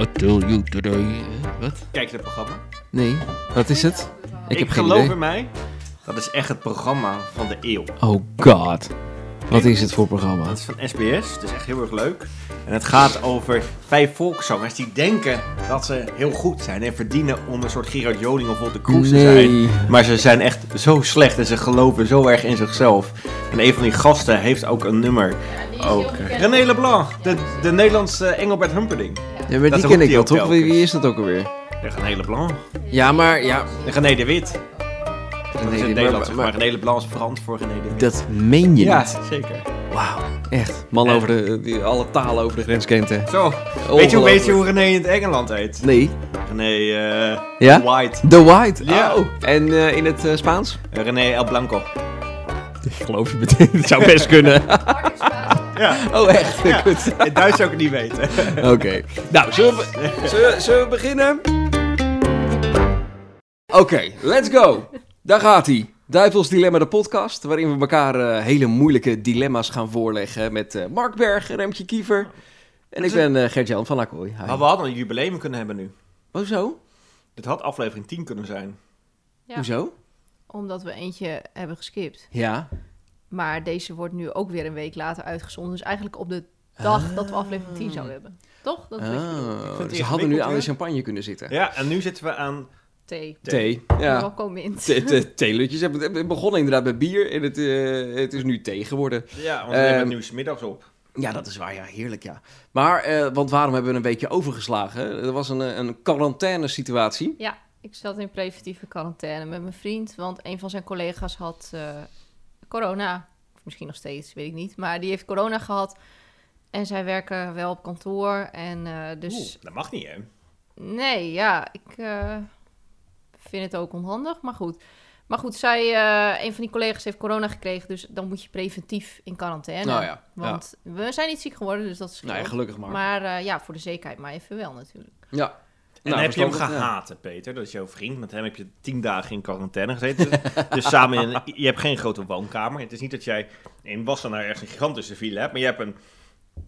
I tell you today. Wat? Kijk je dat programma? Nee. Wat is het? Ik, heb geen geloof idee. in mij. Dat is echt het programma van de eeuw. Oh god. Wat is het voor programma? Dat is van SBS. Het is echt heel erg leuk. En het gaat over vijf volkszangers die denken dat ze heel goed zijn en verdienen om een soort Gerard Joling of Wolter Kroes te zijn. Nee. Maar ze zijn echt zo slecht en ze geloven zo erg in zichzelf. En een van die gasten heeft ook een nummer. Ook. eh, René Leblanc, de, de Nederlandse Engelbert Humperding. Ja, maar Dat die ken roept ik hij wel ook toch? Wie, telkens. wie is dat ook alweer? De René Leblanc. Ja, maar ja. De René de Wit. Dat is die- een Nederlandse, maar- maar René Leblanc is Frans voor René de Wit. Dat meen je ja, niet. zeker. Wauw. Echt. Man over de, die alle talen over de grens kent hè. Zo, weet je, hoe- Ongelooflijk. weet je hoe René in het Engeland heet? Nee. René eh, Ja? White. The White. Ja. Oh. En eh, in het eh, Spaans? Eh, René El Blanco. Ik geloof je meteen. Het zou best kunnen. Ja, Oh echt? Goed. in Duits zou ik het niet weten. Oké. Nou, zullen we, zullen, we- zullen we beginnen? Oké, let's go. Daar gaat hij. Duivels Dilemma, de podcast, waarin we elkaar eh, hele moeilijke dilemma's gaan voorleggen met eh, Mark Berg, Remtje Kiever. En ik ben eh Gert-Jan van Akkooi. Hi. Maar Nou, we hadden een jubileum kunnen hebben nu. Hoezo? Dit had aflevering 10 kunnen zijn. Ja. Hoezo? Omdat we eentje hebben geskipt. Ja. Maar deze wordt nu ook weer een week later uitgezonden. Dus eigenlijk op de dag dat we aflevering 10 zouden hebben. Toch? Dat is wat je bedoelt. Oh, het ze hadden nu ingewikkeld, aan hè? de champagne kunnen zitten. Ja, en nu zitten we aan... thee. Thee. Ja. Ja. Welkom in. Thee- thee- Theelutjes. Het- Het begon inderdaad met bier en het, eh, het is nu thee geworden. Ja, want we hebben Ehm, het nu 's middags op. Ja, dat is waar. Ja, heerlijk, ja. Maar, eh, want waarom hebben we een beetje overgeslagen? Er was een, eh, een quarantaine-situatie. Ja, ik zat in preventieve quarantaine met mijn vriend. Want een van zijn collega's had eh, corona. Of misschien nog steeds, weet ik niet. Maar die heeft corona gehad. En zij werken wel op kantoor. En eh, dus... Oeh, dat mag niet, hè? Nee, ja, ik eh, vind het ook onhandig, maar goed. Maar goed, zij, eh, een van die collega's heeft corona gekregen, dus dan moet je preventief in quarantaine. Nou ja, Want we zijn niet ziek geworden, dus dat is Nou ja, goed. gelukkig maar. Maar eh, ja, voor de zekerheid maar even wel natuurlijk. Ja. En Nou, heb je hem verstandig, ja. gehaat, hè, Peter. Dat is jouw vriend. Met hem heb je tien dagen in quarantaine gezeten. Dus, dus samen in... Je hebt geen grote woonkamer. Het is niet dat jij in Wassenaar ergens een gigantische villa hebt. Maar je hebt een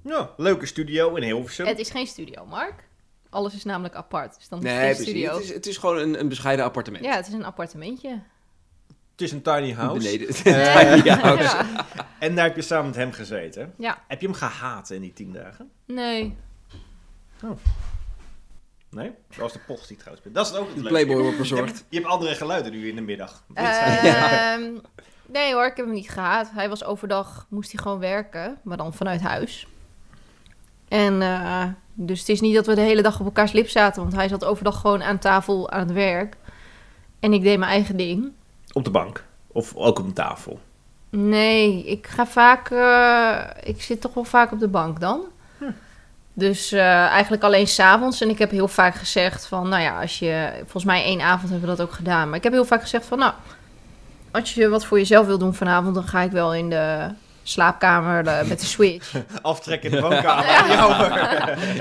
ja, leuke studio in Hilversum. Het is geen studio, Mark. Alles is namelijk apart, dus dan is Nee, het precies. geen studio. Het is, het is gewoon een, een bescheiden appartement. Oh. Ja, het is een appartementje. Het is een tiny house. Beneden. Eh, Ja, house. Ja. En daar heb je samen met hem gezeten. Ja. Heb je hem gehaat in die tien dagen? Nee. Nee? Dat was de post die trouwens. Dat is ook het De leuke. Playboy wordt Je hebt, bezorgd. je hebt andere geluiden nu in de middag. Dit zijn- Ehm, Nee hoor, ik heb hem niet gehaat. Hij was overdag, moest hij gewoon werken, maar dan vanuit huis. En eh, dus het is niet dat we de hele dag op elkaars lip zaten, want hij zat overdag gewoon aan tafel aan het werk. En ik deed mijn eigen ding. Op de bank. Of ook op een tafel. Nee, ik ga vaak, eh, ik zit toch wel vaak op de bank dan. Hm. Dus eh, eigenlijk alleen s'avonds. En ik heb heel vaak gezegd van, nou ja, als je... Volgens mij één avond hebben we dat ook gedaan. Maar ik heb heel vaak gezegd van, nou... Als je wat voor jezelf wil doen vanavond, dan ga ik wel in de slaapkamer eh, met de switch. Aftrekken in de woonkamer. Ja, hoor.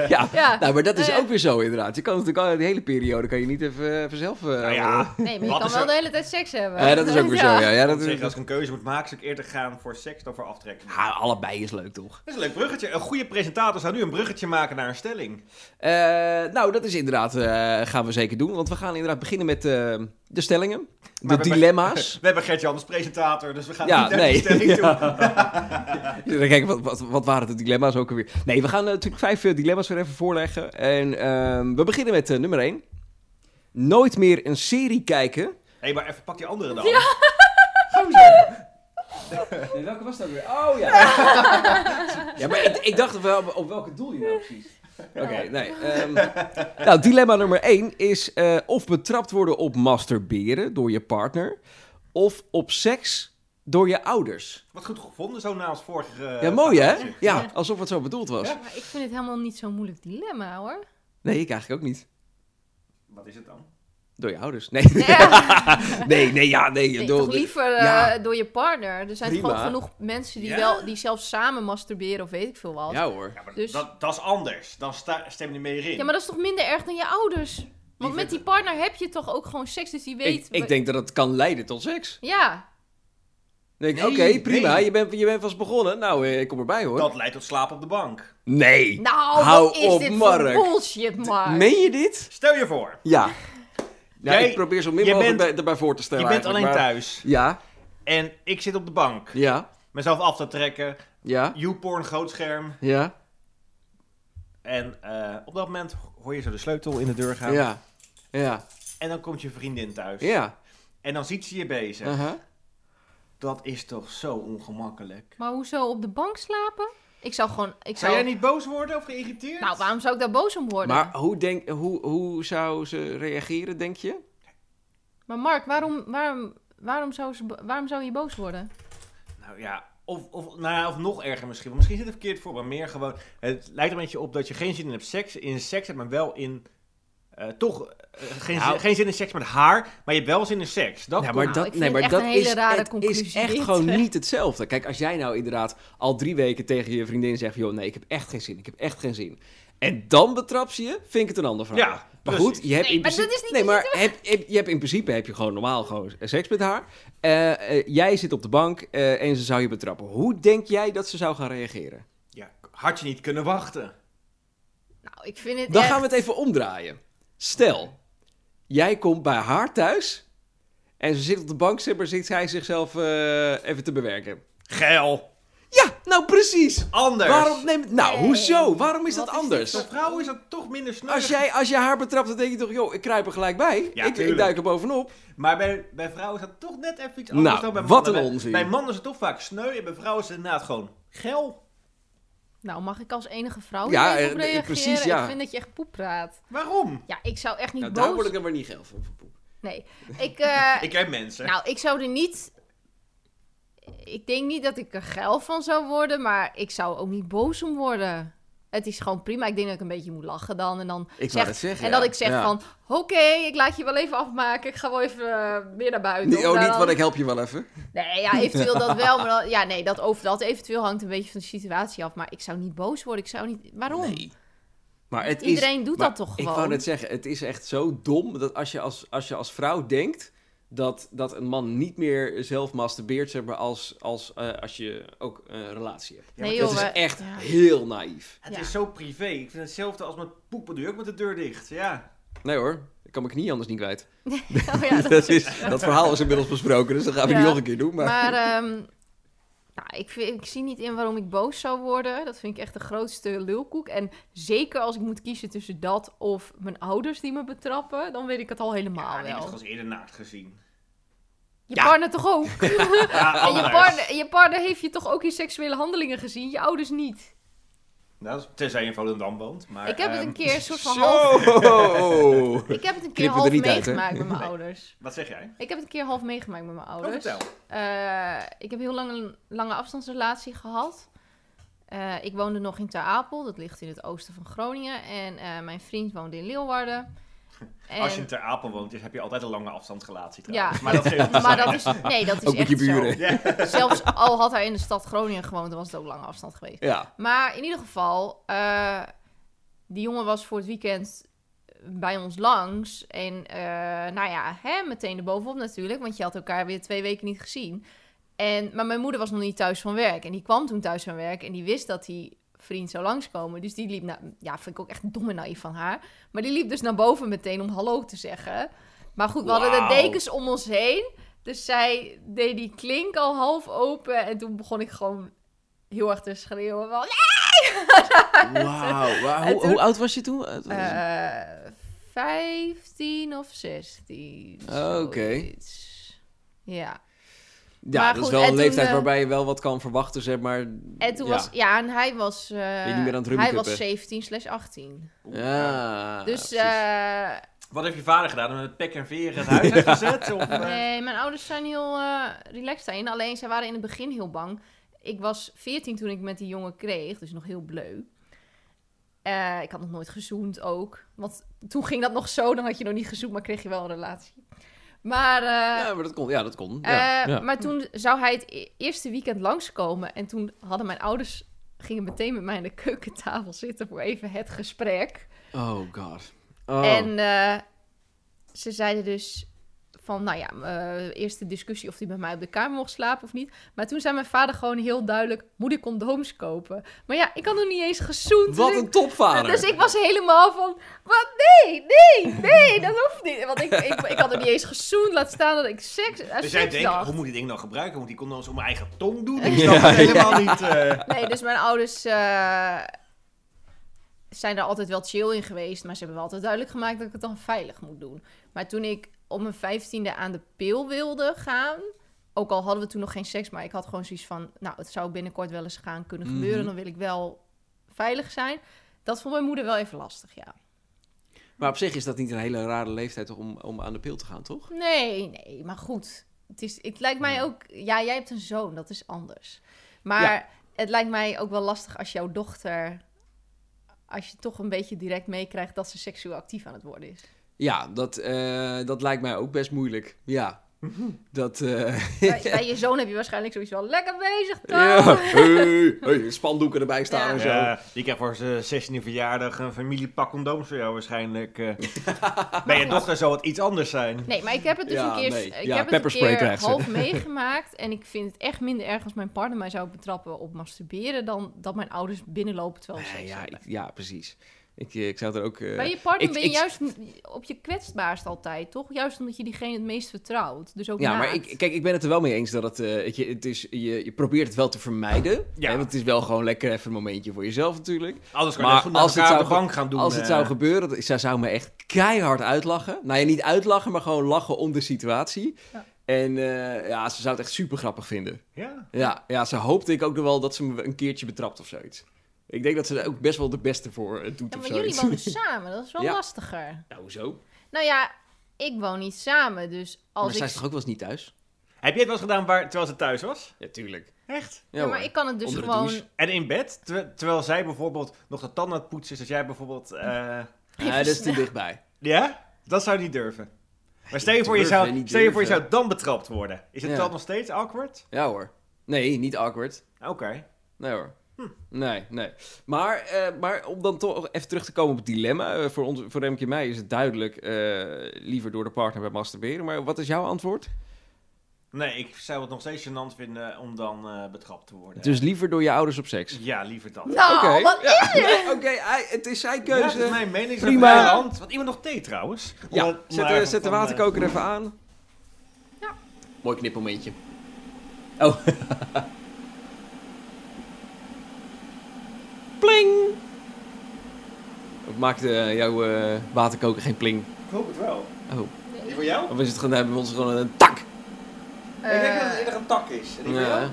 Ja. Ja, Nou, maar dat is Nou ja. ook weer zo inderdaad. Je kan natuurlijk al die hele periode kan je niet even, even zelf... eh, Nou ja. nee, maar je Wat kan is wel er- de hele tijd seks hebben. Ja, dat is ook weer zo. Ja, ja, dat Ik zeg, als is... ik een keuze moet maken, zou ik eerder gaan voor seks dan voor aftrekken. Ja, allebei is leuk, toch? Dat is een leuk bruggetje. Een goede presentator zou nu een bruggetje maken naar een stelling. Eh, nou, dat is inderdaad... eh, gaan we zeker doen. Want we gaan inderdaad beginnen met eh, de stellingen. Maar De we- dilemma's. We hebben Gertje als presentator, dus we gaan Ja, niet naar nee. die stelling toe. Ja, Kijk, wat, wat, wat waren de dilemma's ook alweer? Nee, we gaan eh, natuurlijk vijf eh, dilemma's weer even voorleggen. En ehm, we beginnen met eh, nummer één. Nooit meer een serie kijken. Hé, maar even pak die andere dan. welke was dat weer? Oh ja. ja, maar ik, ik dacht wel op, welke doel je nou precies. Oké, nee. ehm, nou, dilemma nummer één is eh, of betrapt worden op masturberen door je partner. Of op seks door je ouders. Wat goed gevonden, zo naast vorige... eh, Ja, mooi hè? tafeltje. Ja, alsof het zo bedoeld was. Maar ik vind het helemaal niet zo'n moeilijk dilemma, hoor. Nee, ik eigenlijk ook niet. Wat is het dan? Door je ouders. Nee. Nee, nee, ja, nee. Nee, door- toch liever eh, ja. door je partner. Er zijn toch Prima. gewoon genoeg mensen die, Ja. wel, die zelfs samen masturberen of weet ik veel wat. Ja, Ja hoor. Ja, maar Dus- dat, dat is anders. Dan sta, stem je meer in. maar dat is toch minder erg dan je ouders? Want met die partner heb je toch ook gewoon seks, dus die weet... Ik, ik denk dat het kan leiden tot seks. Ja. denk ik, Nee, oké, prima, nee. je bent, je bent vast begonnen. Nou, eh, ik kom erbij hoor. Dat leidt tot slaap op de bank. Nee. Nou, Hou wat is op, dit Mark. voor bullshit, Mark? Meen je dit? Stel je voor, Ja. Nou, Jij- ik probeer zo min jij mogelijk bent- bij- erbij voor te stellen je bent alleen eigenlijk, maar- thuis Ja, en ik zit op de bank. ja, Mezelf af te trekken, ja, YouPorn, grootscherm. ja, En eh, op dat moment hoor je zo de sleutel in de deur gaan. ja, ja, En dan komt je vriendin thuis. ja. Uh-huh. En dan ziet ze je bezig. aha. Dat is toch zo ongemakkelijk. Maar hoezo op de bank slapen? Ik zou gewoon... Zou Ik zou... jij niet boos worden of geïrriteerd? Nou, waarom zou ik daar boos om worden? Maar hoe, denk, hoe, hoe zou ze reageren, denk je? Maar Mark, waarom, waarom, waarom, zou ze, waarom zou je boos worden? Nou ja, of, of, nou ja, of nog erger misschien. Want misschien zit het verkeerd voor, maar meer gewoon... Het lijkt een beetje op dat je geen zin in hebt seks, in seks hebt, maar wel in... eh, toch, eh, geen, Nou. zin, geen zin in seks met haar, maar je hebt wel zin in seks. Dat Ja, komt- Nou, maar dat, ik nee, vind het maar echt dat een hele is, rare het is conclusie echt dit. gewoon niet hetzelfde. Kijk, als jij nou inderdaad al drie weken tegen je vriendin zegt... joh, nee, ik heb echt geen zin, ik heb echt geen zin. En dan betrapt ze je, vind ik het een ander verhaal. Ja, Maar precies. goed, je hebt Nee, in maar principe... dat is niet nee, wat maar heb, heb- je hebt in principe heb je gewoon normaal gewoon seks met haar. Eh, eh, jij zit op de bank eh, en ze zou je betrappen. Hoe denk jij dat ze zou gaan reageren? Ja, had je niet kunnen wachten. Nou, ik vind het Dan echt... gaan we het even omdraaien. Stel, jij komt bij haar thuis... en ze zit op de bank, zeg maar zit zij zichzelf eh, even te bewerken. Geil. Ja, nou precies. Anders. Waarom neemt... Nou, Nee. hoezo? Waarom is Wat dat is dit anders? Voor vrouwen is dat toch minder snel. Als jij, als je haar betrapt, dan denk je toch... joh, ik kruip er gelijk bij. Ja, ik, ik tuurlijk. duik er bovenop. Maar bij, bij vrouwen is dat toch net even iets anders Nou, dan bij wat mannen. een Bij- onzin. Bij mannen is het toch vaak sneu en bij vrouwen is het inderdaad gewoon geil. Nou, mag ik als enige vrouw Ja, ja, eh, op reageren? precies, ja. Ik vind dat je echt poep praat. Waarom? Ja, ik zou echt niet Nou, daar boos... word ik dan weer niet geil van. van poep. Nee, ik... eh, Ik ken mensen. Nou, ik zou er niet... Ik denk niet dat ik er geil van zou worden, maar ik zou ook niet boos om worden. Het is gewoon prima. Ik denk dat ik een beetje moet lachen dan. En dan Ik zeg, wou dat zeggen, En ja. dat ik zeg Ja. van, oké, ik laat je wel even afmaken. Ik ga wel even eh, weer naar buiten. Nee, Of oh, nou niet, dan- want ik help je wel even. Nee, ja, eventueel dat wel. Maar dan- ja, nee, dat over dat eventueel hangt een beetje van de situatie af. Maar ik zou niet boos worden. Ik zou niet... Waarom? Nee. Maar het Iedereen is, doet maar dat toch Ik gewoon? wou net zeggen, het is echt zo dom... dat als je als, als, je als vrouw denkt... Dat, dat een man niet meer zelf masturbeert, zeg maar, als, als, eh, als je ook een relatie hebt. Nee, dat joh, is we- echt ja. heel naïef. Het Ja. is zo privé. Ik vind hetzelfde als met poepen. Doe je ook met de deur dicht. Ja. Nee hoor, ik kan mijn knie anders niet kwijt. Oh ja, dat- dat, is, dat verhaal is inmiddels besproken, dus dat gaan we Ja. niet nog een keer doen. Maar, Maar ehm, nou, ik, vind- ik zie niet in waarom ik boos zou worden. Dat vind ik echt de grootste lulkoek. En zeker als ik moet kiezen tussen dat of mijn ouders die me betrappen, dan weet ik het al helemaal ja, ik heb het wel. gewoon eens eerder naakt gezien. Je Ja. partner toch ook? Ja, En je anders. partner, je partner heeft je toch ook in seksuele handelingen gezien? Je ouders niet. Nou, tenzij je in Volendam woont. Maar, Ik heb het ehm, een keer een soort van half... Zo! Ik heb het een keer Knippen we er half niet uit, hè? meegemaakt met mijn ouders. Wat zeg jij? Ik heb het een keer half meegemaakt met mijn Oh, ouders. vertel. Eh, ik heb heel lang een lange afstandsrelatie gehad. Eh, ik woonde nog in Ter Apel, dat ligt in het oosten van Groningen. En eh, mijn vriend woonde in Leeuwarden. En- Als je in Ter Apel woont, dus heb je altijd een lange afstandsrelatie trouwens. Ja. Maar dat geeft niet. Maar dat is, nee, dat is Ook met echt je buren. Ja. zo. Zelfs al had hij in de stad Groningen gewoond, dan was het ook lange afstand geweest. Ja. Maar in ieder geval, eh, die jongen was voor het weekend bij ons langs. En eh, nou ja, hè, meteen erbovenop natuurlijk, want je had elkaar weer twee weken niet gezien. En, maar mijn moeder was nog niet thuis van werk. En die kwam toen thuis van werk en die wist dat die vriend zou langskomen. Dus die liep, naar, ja, vind ik ook echt dom en naïef van haar. Maar die liep dus naar boven meteen om hallo te zeggen. Maar goed, we hadden de Wauw. dekens om ons heen. Dus zij deed die klink al half open. En toen begon ik gewoon heel erg te schreeuwen. Van, Wauw. En Hoe, toen- hoe oud was je toen? Eh, 15 of 16. Oh, oké. zoiets. Ja. ja, maar dat is goed, wel en een toen, leeftijd eh, waarbij waarbij je wel wat kan verwachten, zeg maar. En toen Ja. was... Ja, en hij was... eh, je niet meer aan het hij rummikuppen? was 17 slash 18. Ja, dus... Ah, precies. eh, Wat heeft je vader gedaan? Met pek en veren het huis uitgezet? Of, eh? nee, mijn ouders zijn heel eh, relaxed daarin. Alleen, zij waren in het begin heel bang. Ik was 14 toen ik met die jongen kreeg. Dus nog heel bleu. Eh, ik had nog nooit gezoend ook. Want toen ging dat nog zo. Dan had je nog niet gezoend, maar kreeg je wel een relatie. Maar... eh, ja, maar dat kon. Ja, dat kon. Ja, Eh, ja. Maar toen zou hij het e- eerste weekend langskomen. En toen hadden mijn ouders... gingen meteen met mij aan de keukentafel zitten... voor even het gesprek. Oh god. Oh. En eh, ze zeiden dus... van, nou ja, eh, eerst de discussie of hij bij mij op de kamer mocht slapen of niet. Maar toen zei mijn vader gewoon heel duidelijk, moet ik condooms kopen? Maar ja, ik had nog niet eens gezoend. Wat dus een ik- topvader. dus ik was helemaal van, wat? Nee, nee, nee, dat hoeft niet. Want ik, ik, ik had nog niet eens gezoend, laat staan dat ik seks, aan Dus jij seks denkt, dacht. hoe moet ik die ding nou gebruiken? Moet die condooms op mijn eigen tong doen? Ja, Ik snap het ja. helemaal niet. eh. Nee, dus mijn ouders eh, zijn daar altijd wel chill in geweest. Maar ze hebben wel altijd duidelijk gemaakt dat ik het dan veilig moet doen. Maar toen ik op mijn vijftiende aan de pil wilde gaan... Ook al hadden we toen nog geen seks, maar ik had gewoon zoiets van... Nou, het zou binnenkort wel eens gaan kunnen gebeuren. Mhm. Dan wil ik wel veilig zijn. Dat vond mijn moeder wel even lastig, ja. Maar op zich is dat niet een hele rare leeftijd toch om, om aan de pil te gaan, toch? Nee, nee, maar goed. Het, is, het lijkt mij ook... Ja, jij hebt een zoon, dat is anders. Maar Ja. het lijkt mij ook wel lastig als jouw dochter... als je toch een beetje direct meekrijgt dat ze seksueel actief aan het worden is. Ja, dat, eh, dat lijkt mij ook best moeilijk. Ja. Mhm. Dat. eh, Bij, bij je zoon heb je waarschijnlijk zoiets wel lekker bezig, toch? ja. Hey, hey, spandoeken erbij staan Ja. en zo. Ja, die krijgt voor zijn 16e verjaardag een familiepak condooms voor jou waarschijnlijk. eh. Bij je dochter zou het iets anders zijn. Nee, maar ik heb het dus Ja, een keer, nee. ik Ja, heb het een pepperspray keer krijgt ze. half meegemaakt. En ik vind het echt minder erg als mijn partner mij zou betrappen op masturberen... dan dat mijn ouders binnenlopen terwijl ze Nee, seks Eh, ja, hebben. ik- ja, precies. Ik, eh, ik zou er ook. eh, Bij je partner ik- ben je ik- juist op je kwetsbaarst altijd, toch? Juist omdat je diegene het meest vertrouwt. Dus ook ja, maar naakt. ik, kijk, ik ben het er wel mee eens dat het, eh, weet je, het is, je, je probeert het wel te vermijden. Ja. Hè, want het is wel gewoon lekker even een momentje voor jezelf natuurlijk. Anders kan je Maar net goed naar als het elkaar op de zou ge- bank gaan doen. Als het eh. zou gebeuren, dat- zij zou me echt keihard uitlachen. Nou ja, niet uitlachen, maar gewoon lachen om de situatie. Ja. En eh, ja, ze zou het echt super grappig vinden. Ja. Ja, ja, ze hoopte ik ook nog wel dat ze me een keertje betrapt of zoiets. Ik denk dat ze daar ook best wel de beste voor eh, doet Ja, of maar zoiets. jullie wonen samen, dat is wel Ja. lastiger. Nou, zo. Nou ja, ik woon niet samen, dus Maar als zij ik... is toch ook wel eens niet thuis? Heb je het wel eens gedaan waar, terwijl ze thuis was? Ja, tuurlijk. Echt? Ja, maar ik kan het dus eh, Onder de gewoon... douche. En in bed? Ter- terwijl zij bijvoorbeeld nog de tanden aan het poetsen is. Dat jij bijvoorbeeld... eh, dat is te dichtbij. Ja? Dat zou je niet durven. Maar stel je, Niet voor, je durven, zou, niet stel je voor je durven. zou dan betrapt worden. Is het Ja. dan nog steeds awkward? Ja hoor. Nee, niet awkward. Oké. Nee hoor. Nee, nee. Maar, eh, maar om dan toch even terug te komen op het dilemma. eh, voor, ons, voor Remke en mij is het duidelijk eh, liever door de partner bij masturberen. Maar wat is jouw antwoord? Nee, ik zou het nog steeds gênant vinden om dan eh, betrapt te worden. Dus liever door je ouders op seks. Ja, liever dat. Nou, Oké. wat Ja. is het? Oké, hij- het is zijn Ja, dat keuze. is mijn mening. Prima. Prima. Hand. Wat iemand nog thee trouwens. Ja, Omdat- zet, maar de, even zet de van, eh, waterkoker even aan. Ja. Mooi knipmomentje. Oh. pling! Wat maakt eh, jouw eh, waterkoker geen pling? eh, ik hoop het wel. Oh. Nee. Voor jou? Of is het gewoon, hebben we ons gewoon een tak? ik denk dat Eh, het enige een tak is. En die voor jou?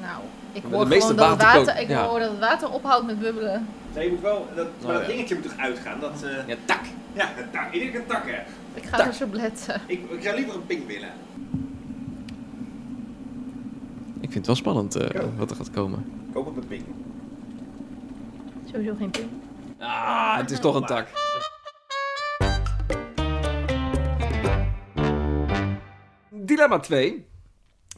nou, ik De hoor meeste gewoon dat het waterkoken, water, ik ja. hoor dat het water ophoudt met bubbelen. Nee, je moet wel, dat, maar ja. dat dingetje moet toch uitgaan? Dat, eh, Ja, tak. ja, een tak. Ik denk een tak heb. Ik ga Tak. er zo op letten. Ik, ik zou liever een pink willen. Ik vind het wel spannend eh, Ja. wat er gaat komen. Ik hoop op een pink. Sowieso geen punt. Ah, het is toch een tak. Dilemma 2.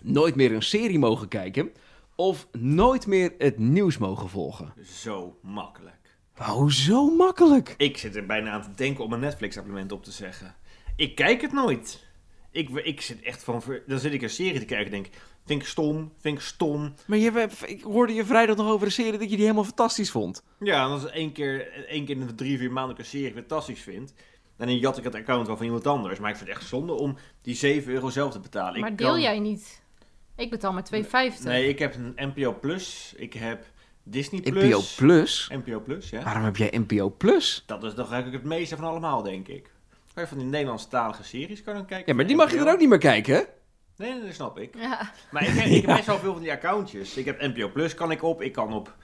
Nooit meer een serie mogen kijken of nooit meer het nieuws mogen volgen. Zo makkelijk. Oh, zo makkelijk. Ik zit er bijna aan te denken om een Netflix-abonnement op te zeggen. Ik kijk het nooit. Ik, ik zit echt van... ver- Dan zit ik een serie te kijken en denk... Vind ik stom, vind ik stom. Maar je, hebt- ik hoorde je vrijdag nog over een serie dat je die helemaal fantastisch vond. Ja, en als ik één keer, één keer in de drie, vier maanden een serie fantastisch vind. En dan jat ik het account wel van iemand anders. Maar ik vind het echt zonde om die 7 euro zelf te betalen. Maar ik deel kan- jij niet? Ik betaal maar 2,50. Nee, ik heb een NPO Plus. Ik heb Disney NPO Plus. Plus? Ah. NPO Plus, ja. Waarom heb jij NPO Plus? Dat is toch eigenlijk het meeste van allemaal, denk ik. Kan je van die Nederlandstalige series kan dan kijken? Ja, maar die mag je NPO? er ook niet meer kijken, hè? Nee, nee, dat snap ik. Ja. Maar ik, ik heb best wel veel van die accountjes. Ik heb NPO Plus kan ik op. Ik kan op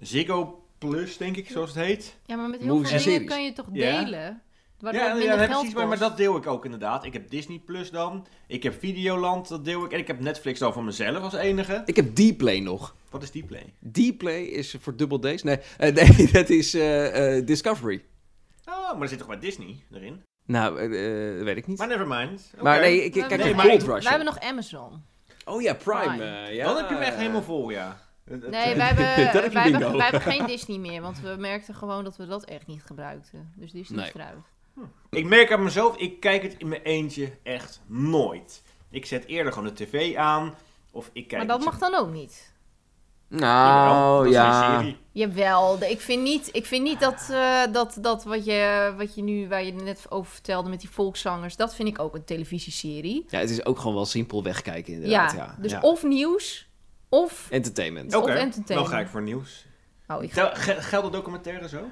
Ziggo Plus, denk ik, zoals het heet. ja, maar met heel Movies veel en dingen series. kan je toch Ja. delen? Waardoor Ja, het ja, minder nee, geld precies, maar, maar kost. dat deel ik ook inderdaad. Ik heb Disney Plus dan, ik heb Videoland, dat deel ik. En ik heb Netflix dan voor mezelf als enige. Ik heb D-Play nog. Wat is die play? D-Play is voor dubbel D's. Nee, eh, nee dat is eh, eh, Discovery. Oh, maar er zit toch bij Disney erin? Nou, Nou, eh, eh, dat weet ik niet. Maar Maar, nevermind. Oké. nee, ik, We ik kijk hebben- op maar ik- Gold Wij Rush. hebben nog Amazon. Oh ja, Prime. Prime. eh, ja. Dan heb je hem echt helemaal vol, ja. Het- het- Nee, het- wij Dat hebben, heb je wij, hebben, bingo. wij hebben geen Disney meer, want we merkten gewoon dat we dat echt niet gebruikten. Dus Disney Nee. is eruit. Ik merk aan mezelf, ik kijk het in mijn eentje echt nooit. Ik zet eerder gewoon de tv aan. Of ik kijk maar dat iets- mag dan ook niet. Jawel, dat Nou, is ja. een serie. Jawel, de- ik vind niet, ik vind niet dat, eh, dat, dat wat, je, wat je nu, waar je net over vertelde met die volkszangers, dat vind ik ook een televisieserie. Ja, het is ook gewoon wel simpel wegkijken Ja, inderdaad. Ja, dus Ja. of Oh, nieuws, of... Entertainment. Of Oké, dan entertainment. ga ik voor nieuws. Oh, ik ga- Tel- ge- Gelden documentaires ook?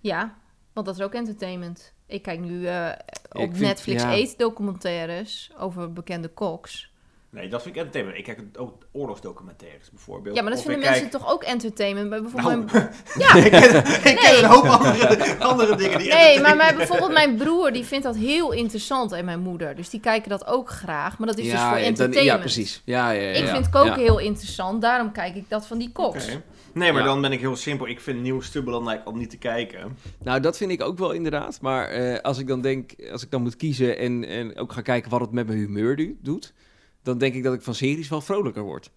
Ja, want dat is ook entertainment. Ik kijk nu eh, op vind- Netflix ja. eetdocumentaires over bekende koks. Nee, dat vind ik entertainment. Ik kijk ook oorlogsdocumentaires bijvoorbeeld. Ja, maar dat Of vinden ik mensen kijk- toch ook entertainment? Maar bijvoorbeeld Nou, mijn- Ja, ik ken, ik ken Nee. een hoop andere, andere dingen die nee, maar mijn, bijvoorbeeld mijn broer die vindt dat heel interessant en mijn moeder. Dus die kijken dat ook graag, maar dat is dus voor en dan- entertainment. ja, precies. Ja, ja, ja, Ik ja. vind koken Ja. heel interessant, daarom kijk ik dat van die koks. Oké. Nee, maar Ja. dan ben ik heel simpel. Ik vind nieuws te belangrijk om niet te kijken. Nou, dat vind ik ook wel inderdaad. Maar eh, als ik dan denk, als ik dan moet kiezen en, en ook ga kijken wat het met mijn humeur du- doet, dan denk ik dat ik van series wel vrolijker word.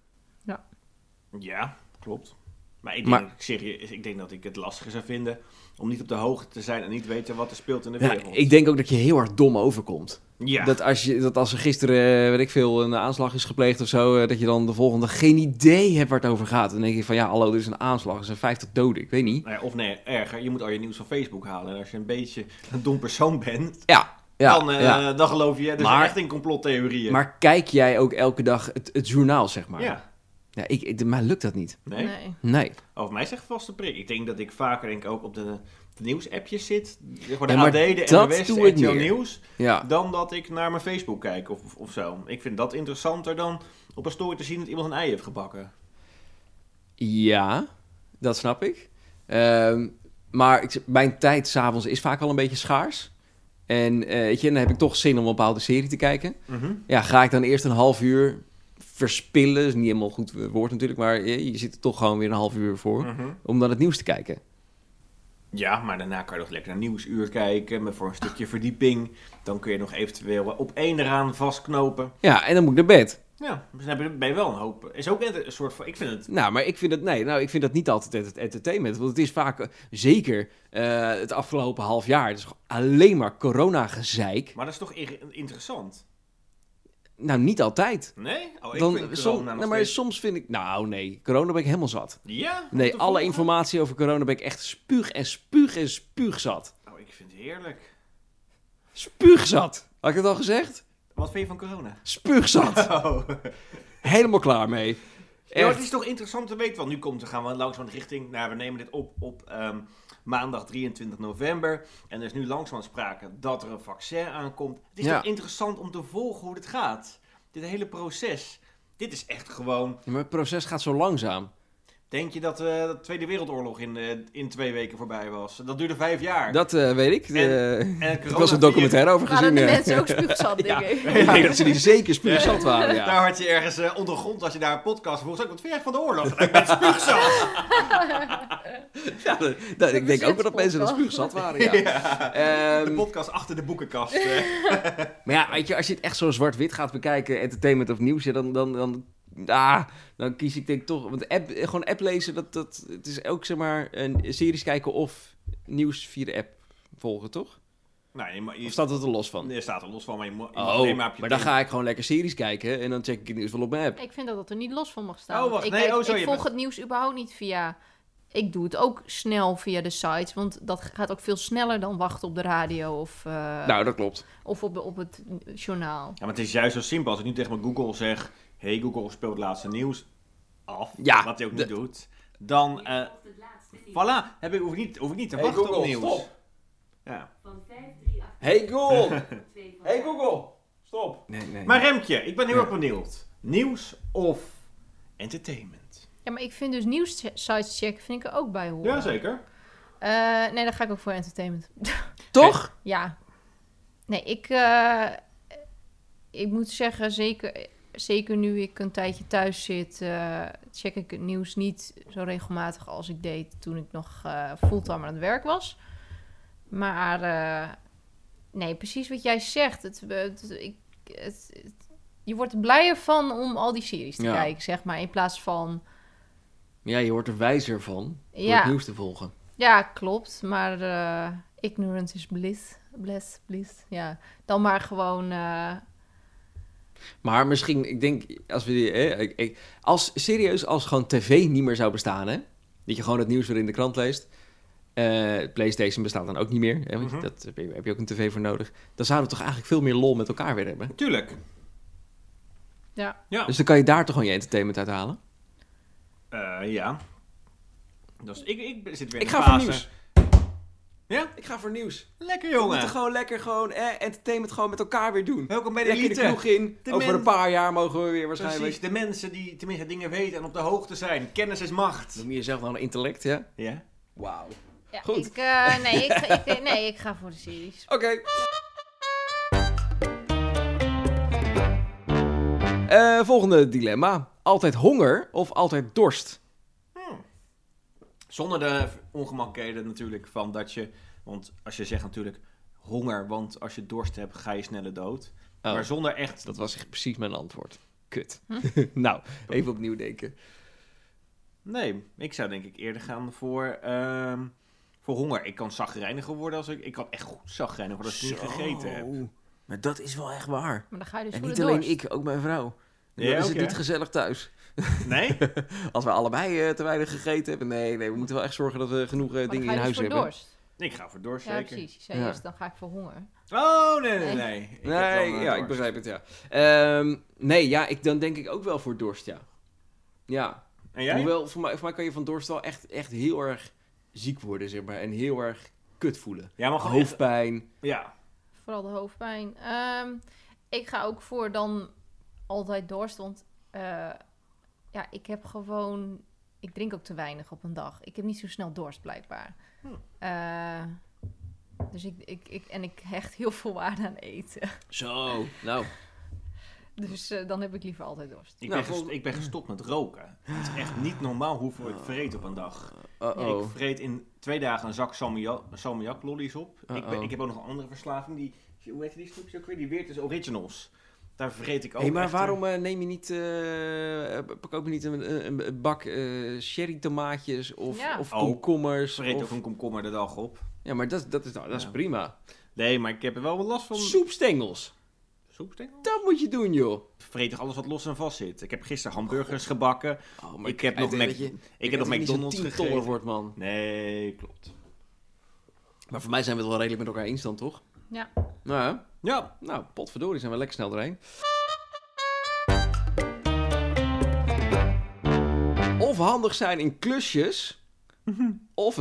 Ja, klopt. Maar ik denk, Maar- serieus, ik denk dat ik het lastiger zou vinden om niet op de hoogte te zijn en niet weten wat er speelt in de Ja, wereld. ik denk ook dat je heel erg dom overkomt. ja. Dat, als je, dat als er gisteren, eh, weet ik veel, een aanslag is gepleegd of zo, eh, dat je dan de volgende geen idee hebt waar het over gaat. Dan denk je van, ja, hallo, er is een aanslag, er zijn 50 doden, ik weet niet. Nou ja, of nee, erger, je moet al je nieuws van Facebook halen. En als je een beetje een dom persoon bent, Ja, ja, dan, eh, ja. dan geloof je dus Maar- echt in complottheorieën. Maar kijk jij ook elke dag het, het journaal, zeg maar? ja, Ja, ik, ik, mij lukt dat niet. nee. Nee. Nee. Over mij zegt vast de prik. Ik denk dat ik vaker denk ik ook op de, de nieuwsapjes zit. Gewoon de Ja, maar AD, de dat NOS, doe ik NPO meer. Nieuws. Ja. Dan dat ik naar mijn Facebook kijk of, of zo. Ik vind dat interessanter dan op een story te zien dat iemand een ei heeft gebakken. Ja, dat snap ik. Ehm, maar ik, mijn tijd s'avonds is vaak wel een beetje schaars. En eh, weet je, dan heb ik toch zin om een bepaalde serie te kijken. Ja, ga ik dan eerst een half uur verspillen? is niet helemaal goed woord natuurlijk, maar je, je zit er toch gewoon weer een half uur voor. Mhm. Om dan het nieuws te kijken. Ja, maar daarna kan je nog lekker naar nieuwsuur kijken. Met voor een stukje verdieping. Dan kun je nog eventueel op één eraan vastknopen. Ja, en dan moet ik naar bed. Ja, dus dan heb je- ben je wel een hoop. Is ook net een soort van. Ik vind het. Nou, maar ik vind dat, nee, nou, ik vind dat niet altijd ent- entertainment. Want het is vaak, eh, zeker eh, het afgelopen half jaar, het is gewoon alleen maar corona-gezeik. Maar dat is toch ir- interessant? Nou, niet altijd. Nee? Oh, ik dan, vind corona som- nog nou, maar steeds- soms vind ik... Nou, nee. Corona ben ik helemaal zat. Ja? Nee, Te alle volgen? informatie over corona ben ik echt spuug en spuug en spuug zat. Oh, ik vind het heerlijk. Spuug zat. Had ik het al gezegd? Wat vind je van corona? Spuug zat. Oh. helemaal klaar mee. Ja, maar het Echt. is toch interessant te weten, want nu komt, gaan we langzaam richting, nou, we nemen dit op op ehm, maandag 23 november. En er is nu langzaam sprake dat er een vaccin aankomt. Het is Ja. toch interessant om te volgen hoe dit gaat. Dit hele proces. Dit is echt gewoon, Ja, maar het proces gaat zo langzaam. denk je dat eh, de Tweede Wereldoorlog in, eh, in twee weken voorbij was? Dat duurde vijf jaar. Dat eh, weet ik. En- Eh, en het ik was een documentaire over Waren gezien. de eh, ja. mensen ook spuugzat, denk ik. Ik denk dat ze die zeker spuug zat waren, ja. Daar had je ergens eh, ondergrond, als je daar een podcast vroeg, zei ik, wat vind jij van de oorlog? Nou, ik ben spuugzat. Ja, dat- dat- ik denk ook wel dat mensen dat spuug zat waren, ja. De Ehm, podcast achter de boekenkast. eh. Maar ja, weet je, als je het echt zo zwart-wit gaat bekijken, entertainment of nieuws, ja, dan, dan, dan, ah, dan kies ik denk toch... Want app, eh, gewoon app lezen, dat, dat, het is ook zeg maar een series kijken of nieuws via de app volgen, toch? nou, je, ma- je Of staat het er los van? Nee, staat er los van, maar je mo- je mag Oh, alleen maar op maar je dan tele- ga ik gewoon lekker series kijken en dan check ik het nieuws wel op mijn app. Ik vind dat dat er niet los van mag staan. Oh, wacht, ik nee, kijk- oh, zo, ik je volg bent- het nieuws überhaupt niet via... Ik doe het ook snel via de sites, want dat gaat ook veel sneller dan wachten op de radio of, eh, Nou, dat klopt. of op, op het journaal. Ja, maar het is juist zo simpel. Als ik nu tegen mijn Google zeg... Hey Google, speelt het laatste nieuws af. Ja, wat hij ook de- niet doet. Dan, eh voilà, heb ik, hoef, ik niet, hoef ik niet te wachten op nieuws. Ja. Hey Google! hey Google! Stop! Nee, nee. Maar Remtje, ik ben heel Ja. erg benieuwd. Nieuws of entertainment? Ja, maar ik vind dus nieuws sites checken vind ik er ook bij horen. Jazeker. Eh, nee, daar ga ik ook voor entertainment. Toch? ja. Nee, ik, eh, ik moet zeggen, zeker, zeker nu ik een tijdje thuis zit, eh, check ik het nieuws niet zo regelmatig als ik deed toen ik nog eh, fulltime aan het werk was. Maar eh, nee, precies wat jij zegt. Het, het- ik, het, het- je wordt er blijer van om al die series te Ja. kijken, zeg maar, in plaats van. Ja, je wordt er wijzer van door Ja. het nieuws te volgen. Ja, klopt. Maar eh, Ignorance is bliss. Bless, bliss. Ja. Dan maar gewoon. eh, Maar misschien, ik denk, als we die, eh, ik, ik- als serieus, als gewoon tv niet meer zou bestaan, hè? Dat je gewoon het nieuws weer in de krant leest. Eh, PlayStation bestaat dan ook niet meer. Hè? Want Mhm. dat heb je, heb je ook een tv voor nodig. Dan zouden we toch eigenlijk veel meer lol met elkaar weer hebben. Tuurlijk. Ja. Ja. Dus dan kan je daar toch gewoon je entertainment uit halen. Eh, ja. Dus ik, ik zit weer Ik in ga de voor fase. nieuws. Ja? Ik ga voor nieuws. Lekker We moeten jongen. gewoon lekker gewoon, eh, entertainment gewoon met elkaar weer doen. Welkom bij de Lekker de elite. kroeg in. De Over men- een paar jaar mogen we weer Precies, waarschijnlijk. de mensen die tenminste dingen weten en op de hoogte zijn. Kennis is macht. Noem je jezelf dan een intellect, ja? Ja. Wauw. ja, Goed. Ik, eh, nee, ik, ik- nee, ik ga voor de series. Oké. Eh, volgende dilemma. Altijd honger of altijd dorst? Zonder de ongemakkelijkheden natuurlijk van dat je... Want als je zegt natuurlijk honger, want als je dorst hebt ga je sneller dood. Oh. Maar zonder echt... Dat was echt precies mijn antwoord. Kut. nou, even opnieuw denken. Nee, ik zou denk ik eerder gaan voor, ehm, voor honger. Ik kan zagrijniger worden als ik... Ik kan echt goed zagrijniger worden als ik niet gegeten heb. Maar dat is wel echt waar. Maar dan ga je dus En voor niet de alleen dorst. ik, eh, ook mijn vrouw. Dan Ja, is het oké. niet gezellig thuis. Nee? Als we allebei eh, te weinig gegeten hebben. Nee, nee, we moeten wel echt zorgen dat we genoeg eh, Maar dan dingen ga je in dus huis voor hebben. dorst. Ik ga voor dorst Ja, zeker. precies. Je zei Ja. eerst, dan ga ik voor honger. Oh, nee, nee, Nee. nee. Ik heb dan, Nee, eh, ja, dorst. ik begrijp het, ja. Ehm, nee, ja, ik, dan denk ik ook wel voor dorst, ja. Ja, En jij? Hoewel, voor mij, voor mij kan je van dorst wel echt, echt heel erg ziek worden, zeg maar. En heel erg kut voelen. Ja, maar gewoon... Hoofdpijn. Ja. Vooral de hoofdpijn. Ehm, ik ga ook voor dan altijd dorst, want eh, ja, ik heb gewoon... Ik drink ook te weinig op een dag. Ik heb niet zo snel dorst, blijkbaar. Hm. Eh, dus ik, ik, ik, en ik hecht heel veel waarde aan eten. Zo. Nou, Dus eh, dan heb ik liever altijd dorst. Ik, Nou, ben gest- volgens- ik ben gestopt met roken. Het is echt niet normaal hoeveel Oh. ik vreet op een dag. uh-oh. Ik vreet in twee dagen een zak salmiak lollies op. Ik, ben- Uh-oh. ik heb ook nog een andere verslaving. Die, hoe heet die snoepjes ook weer? Die Weertes Originals. Daar vreet ik ook hey, maar echt, waarom eh, neem je niet, eh, eh, pak ook niet een, een- een bak eh sherry tomaatjes of, Ja. of Oh, eh, komkommers? Vreet of- ook een komkommer de dag op. Ja, maar dat, dat is, nou, dat is Ja. prima. Nee, maar ik heb er wel wat last van. Soepstengels. Soepstengel? Dat moet je doen, joh. Vreet toch alles wat los en vast zit. Ik heb gisteren hamburgers gebakken. Oh, Ik heb nog denk Mac- dat je- Ik heb nog dat je niet zo'n McDonald's 10 gegeten. toller wordt, man. Nee, klopt. Maar voor mij zijn we het wel redelijk met elkaar eens dan, toch? Ja. Nou, hè? Ja, Nou, potverdorie, zijn we lekker snel doorheen. Of handig zijn in klusjes. Mhm. Of,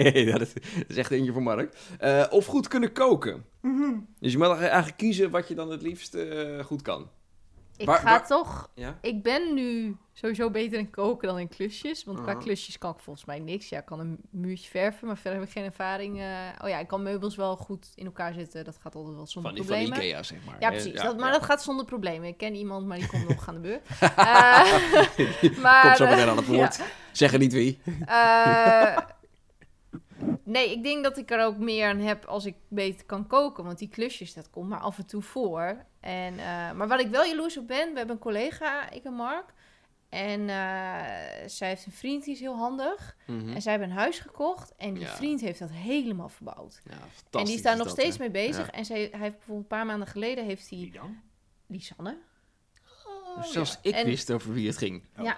Ja, dat is echt eentje voor Mark. Eh, of goed kunnen koken. Mhm. Dus je mag eigenlijk kiezen wat je dan het liefst eh, goed kan. Ik Waar- ga waar- toch... Ja? Ik ben nu sowieso beter in koken dan in klusjes. Want qua Aha. klusjes kan ik volgens mij niks. Ja, ik kan een muurtje verven, maar verder heb ik geen ervaring. eh. oh ja, ik kan meubels wel goed in elkaar zetten. Dat gaat altijd wel zonder Van, die, van problemen. Ikea, zeg maar. Ja, Eh, precies. dat, maar ja. dat gaat zonder problemen. Ik ken iemand, maar die komt nog aan de beurt. Eh, maar, Komt zo eh, meteen aan het ja. woord. Zeggen niet wie. Eh, nee, ik denk dat ik er ook meer aan heb als ik beter kan koken. Want die klusjes, dat komt maar af en toe voor. En, eh, maar wat ik wel jaloers op ben, we hebben een collega, ik en Mark. En eh, zij heeft een vriend, die is heel handig. Mhm. En zij hebben een huis gekocht. En die Hm. Ja. vriend heeft dat helemaal verbouwd. Ja, fantastisch En die is daar is nog dat, steeds hè. mee bezig. Ja. En zij, hij heeft bijvoorbeeld een paar maanden geleden, heeft hij die dan? Lisanne. Zelfs ik oh, En- wist over wie het ging. Oh. Ja.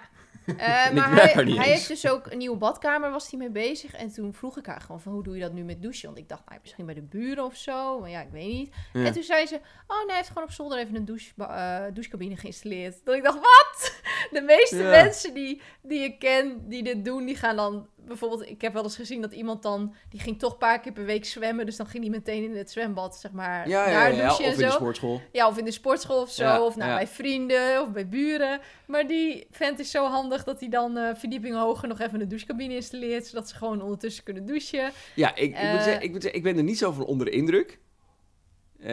Eh, ik maar werk er hij, niet hij eens. heeft dus ook een nieuwe badkamer, was hij mee bezig. En toen vroeg ik haar gewoon van, hoe doe je dat nu met douchen? Want ik dacht, nou, misschien bij de buren of zo. Maar ja, ik weet niet. Ja. En toen zei ze, oh nee, hij heeft gewoon op zolder even een douche, eh, douchecabine geïnstalleerd. Dat ik dacht, wat? De meeste Ja. mensen die, die ik ken, die dit doen, die gaan dan... Bijvoorbeeld, ik heb wel eens gezien dat iemand dan... Die ging toch een paar keer per week zwemmen. Dus dan ging hij meteen in het zwembad, zeg maar, Ja, ja, ja, daar ja, douchen en Of in de zo. sportschool. Ja, of in de sportschool of zo. Ja, of nou, ja. bij vrienden of bij buren. Maar die vent is zo handig dat hij dan eh verdieping hoger nog even een douchecabine installeert. Zodat ze gewoon ondertussen kunnen douchen. Ja, ik, ik, moet Eh, zeggen, ik, moet zeggen, ik ben er niet zo van onder de indruk. Eh,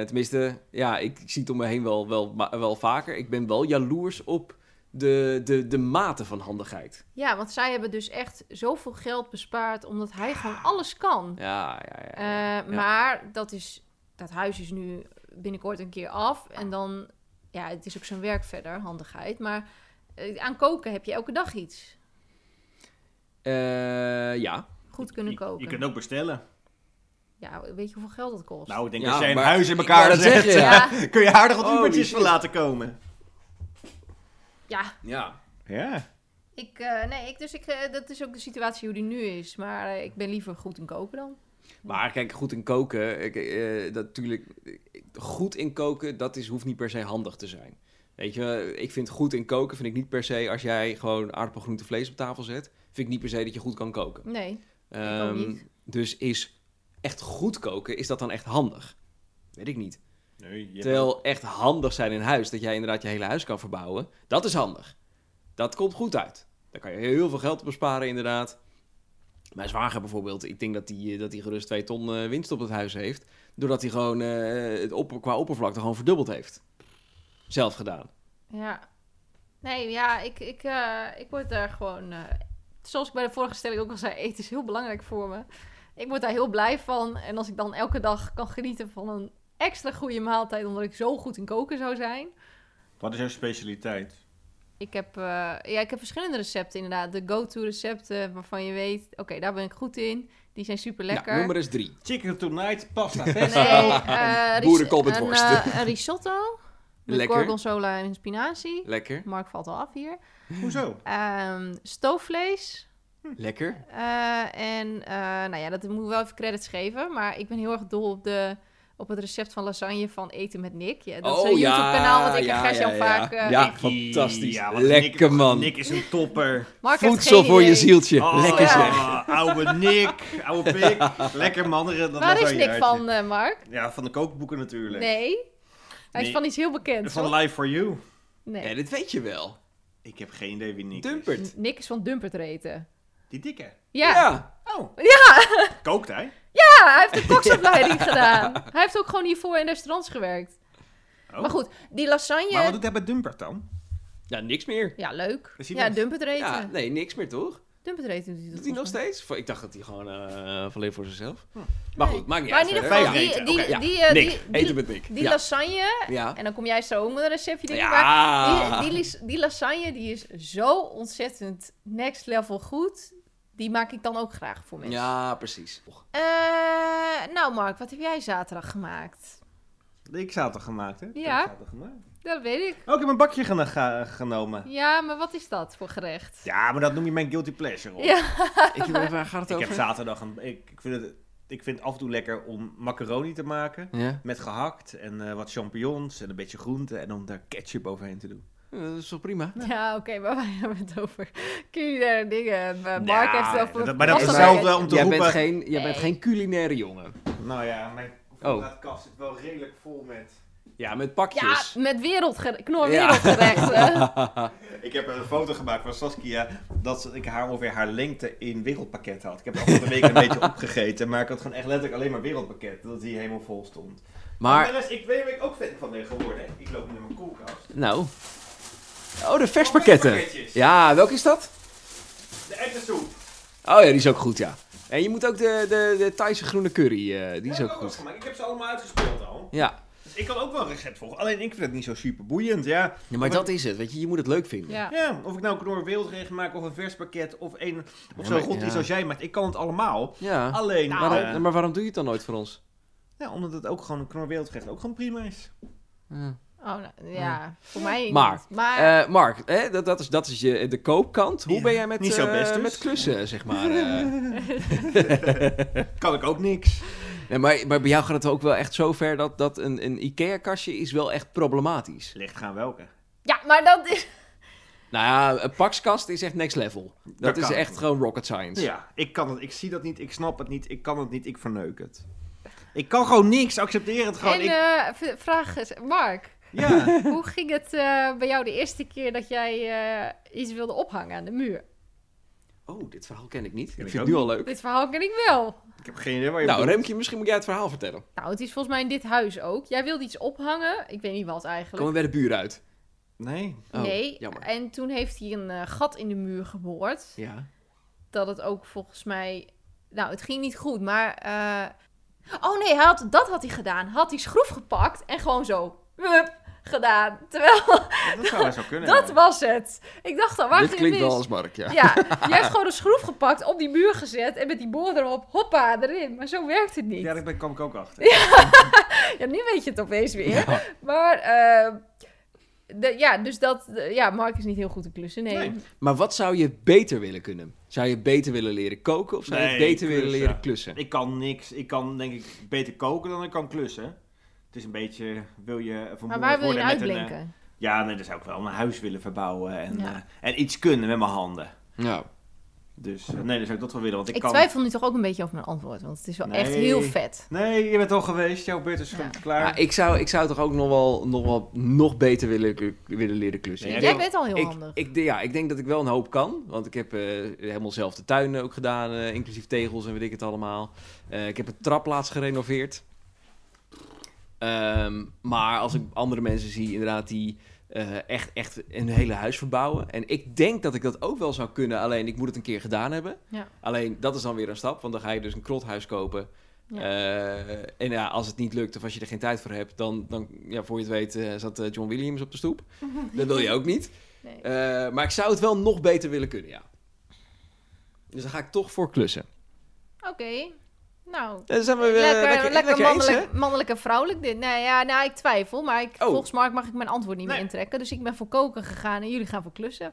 tenminste, ja, ik zie het om me heen wel, wel, ma- wel vaker. Ik ben wel jaloers op de, de, de mate van handigheid. Ja, want zij hebben dus echt zoveel geld bespaard omdat hij gewoon alles kan. Ja, ja, ja. Eh, ja. Ja. Maar dat, is, dat huis is nu binnenkort een keer af. En dan, ja, het is ook zijn werk verder, handigheid. Maar eh, aan koken heb je elke dag iets. Eh, ja. Goed kunnen Je, Eh, koken. je kunt ook bestellen. Ja, weet je hoeveel geld dat kost? Nou, ik denk Ja, als jij een maar huis in ik elkaar wou dat zet, zeggen, ja. kun je aardig wat Holy Ubertjes van shit. laten komen. ja, Ja. Ja. Ik, eh, nee, ik, dus ik, eh, dat is ook de situatie hoe die nu is. Maar eh, ik ben liever goed in koken dan. Maar kijk, goed in koken, ik, eh, dat natuurlijk, goed in koken, dat is, hoeft niet per se handig te zijn. Weet je, ik vind goed in koken, vind ik niet per se, als jij gewoon aardappel, groente, vlees op tafel zet, vind ik niet per se dat je goed kan koken. Nee. Ehm, ook niet. Dus is echt goed koken, is dat dan echt handig? Weet ik niet. Nee, je hebt- Terwijl echt handig zijn in huis, dat jij inderdaad je hele huis kan verbouwen, dat is handig. Dat komt goed uit. Daar kan je heel veel geld op besparen, inderdaad. Mijn zwager bijvoorbeeld, ik denk dat hij eh, dat hij gerust twee ton eh, winst op het huis heeft. Doordat hij gewoon eh, het opper, qua oppervlakte gewoon verdubbeld heeft. Zelf gedaan. Nou, Ja. Nee, ja, ik, ik, eh, ik word daar gewoon... eh, zoals ik bij de vorige stelling ook al zei, eten is heel belangrijk voor me. Ik word daar heel blij van. En als ik dan elke dag kan genieten van een extra goede maaltijd... omdat ik zo goed in koken zou zijn... Wat is jouw specialiteit? Ik heb, eh, ja, ik heb verschillende recepten inderdaad. De go-to recepten waarvan je weet... Oké, daar ben ik goed in. Die zijn super lekker. Nou, nummer is drie. Chicken tonight, pasta Nee, pesto. eh, ris- Boerenkool met een, worst. eh, een risotto. Met Lekker. gorgonzola en spinazie. Lekker, Mark valt al af hier. Hoezo? Ehm, stoofvlees. Hm. lekker. Eh, en eh, nou ja, dat moet ik wel even credits geven. Maar ik ben heel erg dol op, de, op het recept van lasagne van Eten met Nick. Ja, dat is Oh, een ja, YouTube-kanaal wat ik ja, en Gertjan ja, ja. vaak... eh, Ja. ik- Fantastisch. want Lekker, Nick, man. Nick is een topper. Mark heeft Voedsel geen voor je idee. zieltje. Oh, lekker zeg. Oude Nick, oude pik. Lekker man. dat- dat Waar was is wel Nick je van, uitje. eh, Mark? Ja, van de kookboeken natuurlijk. Nee. Hij is Nee. van iets heel bekends, Van hoor. Live for You. Ja, Nee. dit weet je wel. Ik heb geen idee wie Nick is. Dumpert. Nick is van Dumpert eten. Die dikke. ja. Ja. Oh. Kookt hij? Ja, hij heeft een koksopleiding gedaan. Hij heeft ook gewoon hiervoor in restaurants gewerkt. Oh. Maar goed, die Maar lasagne... wat doet hij bij Dumpert dan? Ja, niks meer. Ja, leuk. Is hij Ja, nog- dumpet eten. Ja, nee, niks meer toch? Dumpet eten doet hij dat Doet hij nog volgens mij. steeds? Ik dacht dat hij gewoon eh alleen voor zichzelf. Maar goed, maakt niet Maar in uit. ieder verder. geval, Vijf die, eten, die, oké. Ja, die, eh, die, Nick, die, eten met Nick. die ja. lasagne... ja. En dan kom jij zo ook met een receptje tegen, maar Ja. die, die, lis- die lasagne die is zo ontzettend next level goed. Die maak ik dan ook graag voor mensen. ja, precies. Och, Eh, nou Mark, wat heb jij zaterdag gemaakt? Ik zaterdag gemaakt, hè? Ja. Ik zaterdag gemaakt. Dat weet ik. Oh, ik heb een bakje gena- ga- genomen. Ja, maar wat is dat voor gerecht? Ja, maar dat noem je mijn guilty pleasure, hoor. Ja. Ik, waar gaat het Ik over? heb zaterdag een... Ik, ik vind het, ik vind het af en toe lekker om macaroni te maken. Ja, Met gehakt en eh, wat champignons en een beetje groente. En om daar ketchup overheen te doen. Eh, dat is toch prima? Ja, oké, maar wij hebben het over culinaire dingen. Maar Nou, Mark heeft het over... dat- maar dat is hetzelfde om te Jij roepen. bent, geen, jij bent Nee. geen culinaire jongen. Nou ja, mijn hoeveelheid kast zit wel redelijk vol met... Ja, met Ja, pakjes. met wereldgere... Ja. knor wereldgerechten. Ik heb een foto gemaakt van Saskia dat ik haar ongeveer haar lengte in wereldpakketten had. Ik heb de afgelopen week een beetje opgegeten, maar ik had gewoon echt letterlijk alleen maar wereldpakketten, dat die helemaal vol stond. Maar, de rest, ik weet waar ik ook fan van ben geworden. Ik loop nu in mijn koelkast. nou. Oh, de verspakketten. Verspakkettjes. Ja, welke is dat? De ettensoep. Oh ja, die is ook goed, ja. En je moet ook de, de, de Thaise groene curry, eh, die is ook goed. Ik heb ze allemaal uitgespeeld al. Ja. Dus ik kan ook wel een recept volgen, alleen ik vind het niet zo super boeiend, ja. ja, maar dat is het, weet je. Je moet het leuk vinden. ja. Ja, of ik nou een knor wereldregen maak, of een vers pakket, of, een, of Ja, zo'n maar- rottie ja. zoals jij maakt. Ik kan het allemaal. Ja. Alleen, Nou. Waarom- eh, maar waarom doe je het dan nooit voor ons? ja, omdat het ook gewoon een knor wereldgerecht ook gewoon prima is. Ja. Oh, nou, ja, voor mij niet. Maar, maar Eh, Mark, hè, dat, dat is, dat is je, de koopkant. Hoe Ja, ben jij met, niet zo eh, best dus. met klussen, zeg maar? eh? Kan ik ook niks. nee, maar, maar bij jou gaat het ook wel echt zo ver dat, dat een, een IKEA-kastje is wel echt problematisch. Ligt gaan welke? ja, maar dat is... Nou ja, een pakskast is echt next level. Dat, Dat is kan. echt gewoon rocket science. Ja, ik kan het, ik zie dat niet, ik snap het niet, ik kan het niet, ik verneuk het. Ik kan gewoon niks, accepteer het gewoon. en ik, eh, v- vraag eens, Mark, ja, hoe ging het eh, bij jou de eerste keer dat jij eh, iets wilde ophangen aan de muur? Oh, dit verhaal ken ik niet. ik ik vind het ook nu al leuk. Dit verhaal ken ik wel. ik heb geen idee waar je Nou, op doet. Remkje, misschien moet jij het verhaal vertellen. Nou, het is volgens mij in dit huis ook. Jij wilde iets ophangen, ik weet niet wat Komen eigenlijk. we bij de buur uit? Nee, Oh, nee, jammer. en toen heeft hij een eh, gat in de muur geboord. Ja. dat het ook volgens mij. Nou, het ging niet goed, maar. eh, Oh nee, hij had, dat had hij gedaan. Had hij schroef gepakt en gewoon zo. wup, gedaan. Terwijl Dat zou wel zo kunnen. dat ja. was het. Ik dacht al, waar Dit ging het klinkt wel mis? als Mark, ja. Ja, je hebt gewoon een schroef gepakt, op die muur gezet en met die boor erop, hoppa, erin. Maar zo werkt het niet. Ja, daar ben- kwam ik ook achter. Ja, nu weet je het opeens weer. Maar, eh, de, ja, dus dat... de- ja, Mark is niet heel goed in klussen, nee. Nee. Maar wat zou je beter willen kunnen? Zou je beter willen leren koken of zou je Nee, beter willen klussen. leren klussen? Ik kan niks. Ik kan denk ik beter koken dan ik kan klussen. Het is een beetje, wil je Maar vermoeiend waar wil je worden nou met een... eh, uitblinken? ja, nee, dan zou ik wel mijn huis willen verbouwen en, Ja. eh, en iets kunnen met mijn handen. Ja. Dus eh, nee, dan zou ik dat wel willen, want ik, Ik kan... twijfel nu toch ook een beetje over mijn antwoord, want het is wel echt Nee. heel vet. Nee, je bent al geweest. Jouw beurt is Ja. gewoon klaar. Ja, ik, zou, ik zou toch ook nog wel nog, wel, nog beter willen, willen leren klussen. Ja, Ik jij denk- Jij bent al heel ik, handig. ik, ja, ik denk dat ik wel een hoop kan. Want ik heb eh, helemaal zelf de tuin ook gedaan. eh, inclusief tegels en weet ik het allemaal. Eh, ik heb een trap laatst gerenoveerd. Ehm, maar als ik andere mensen zie, inderdaad, die eh, echt, echt een hele huis verbouwen. En ik denk dat ik dat ook wel zou kunnen. Alleen ik moet het een keer gedaan hebben. Ja. Alleen dat is dan weer een stap. Want dan ga je dus een krothuis kopen. Ja. Eh, en ja, als het niet lukt of als je er geen tijd voor hebt, dan, dan ja, voor je het weet, eh, zat eh, John Williams op de stoep. Dat wil je ook niet. Nee. Eh, maar ik zou het wel nog beter willen kunnen, ja. Dus dan ga ik toch voor klussen. Oké, nou... Dan zijn we eh, Lekker, lekker, lekker, eens, mannelijk, hè? mannelijk en vrouwelijk dit. Nou ja, nou, ik twijfel, maar ik, Oh. volgens Mark mag ik mijn antwoord niet meer intrekken. Dus ik ben voor koken gegaan en jullie gaan voor klussen.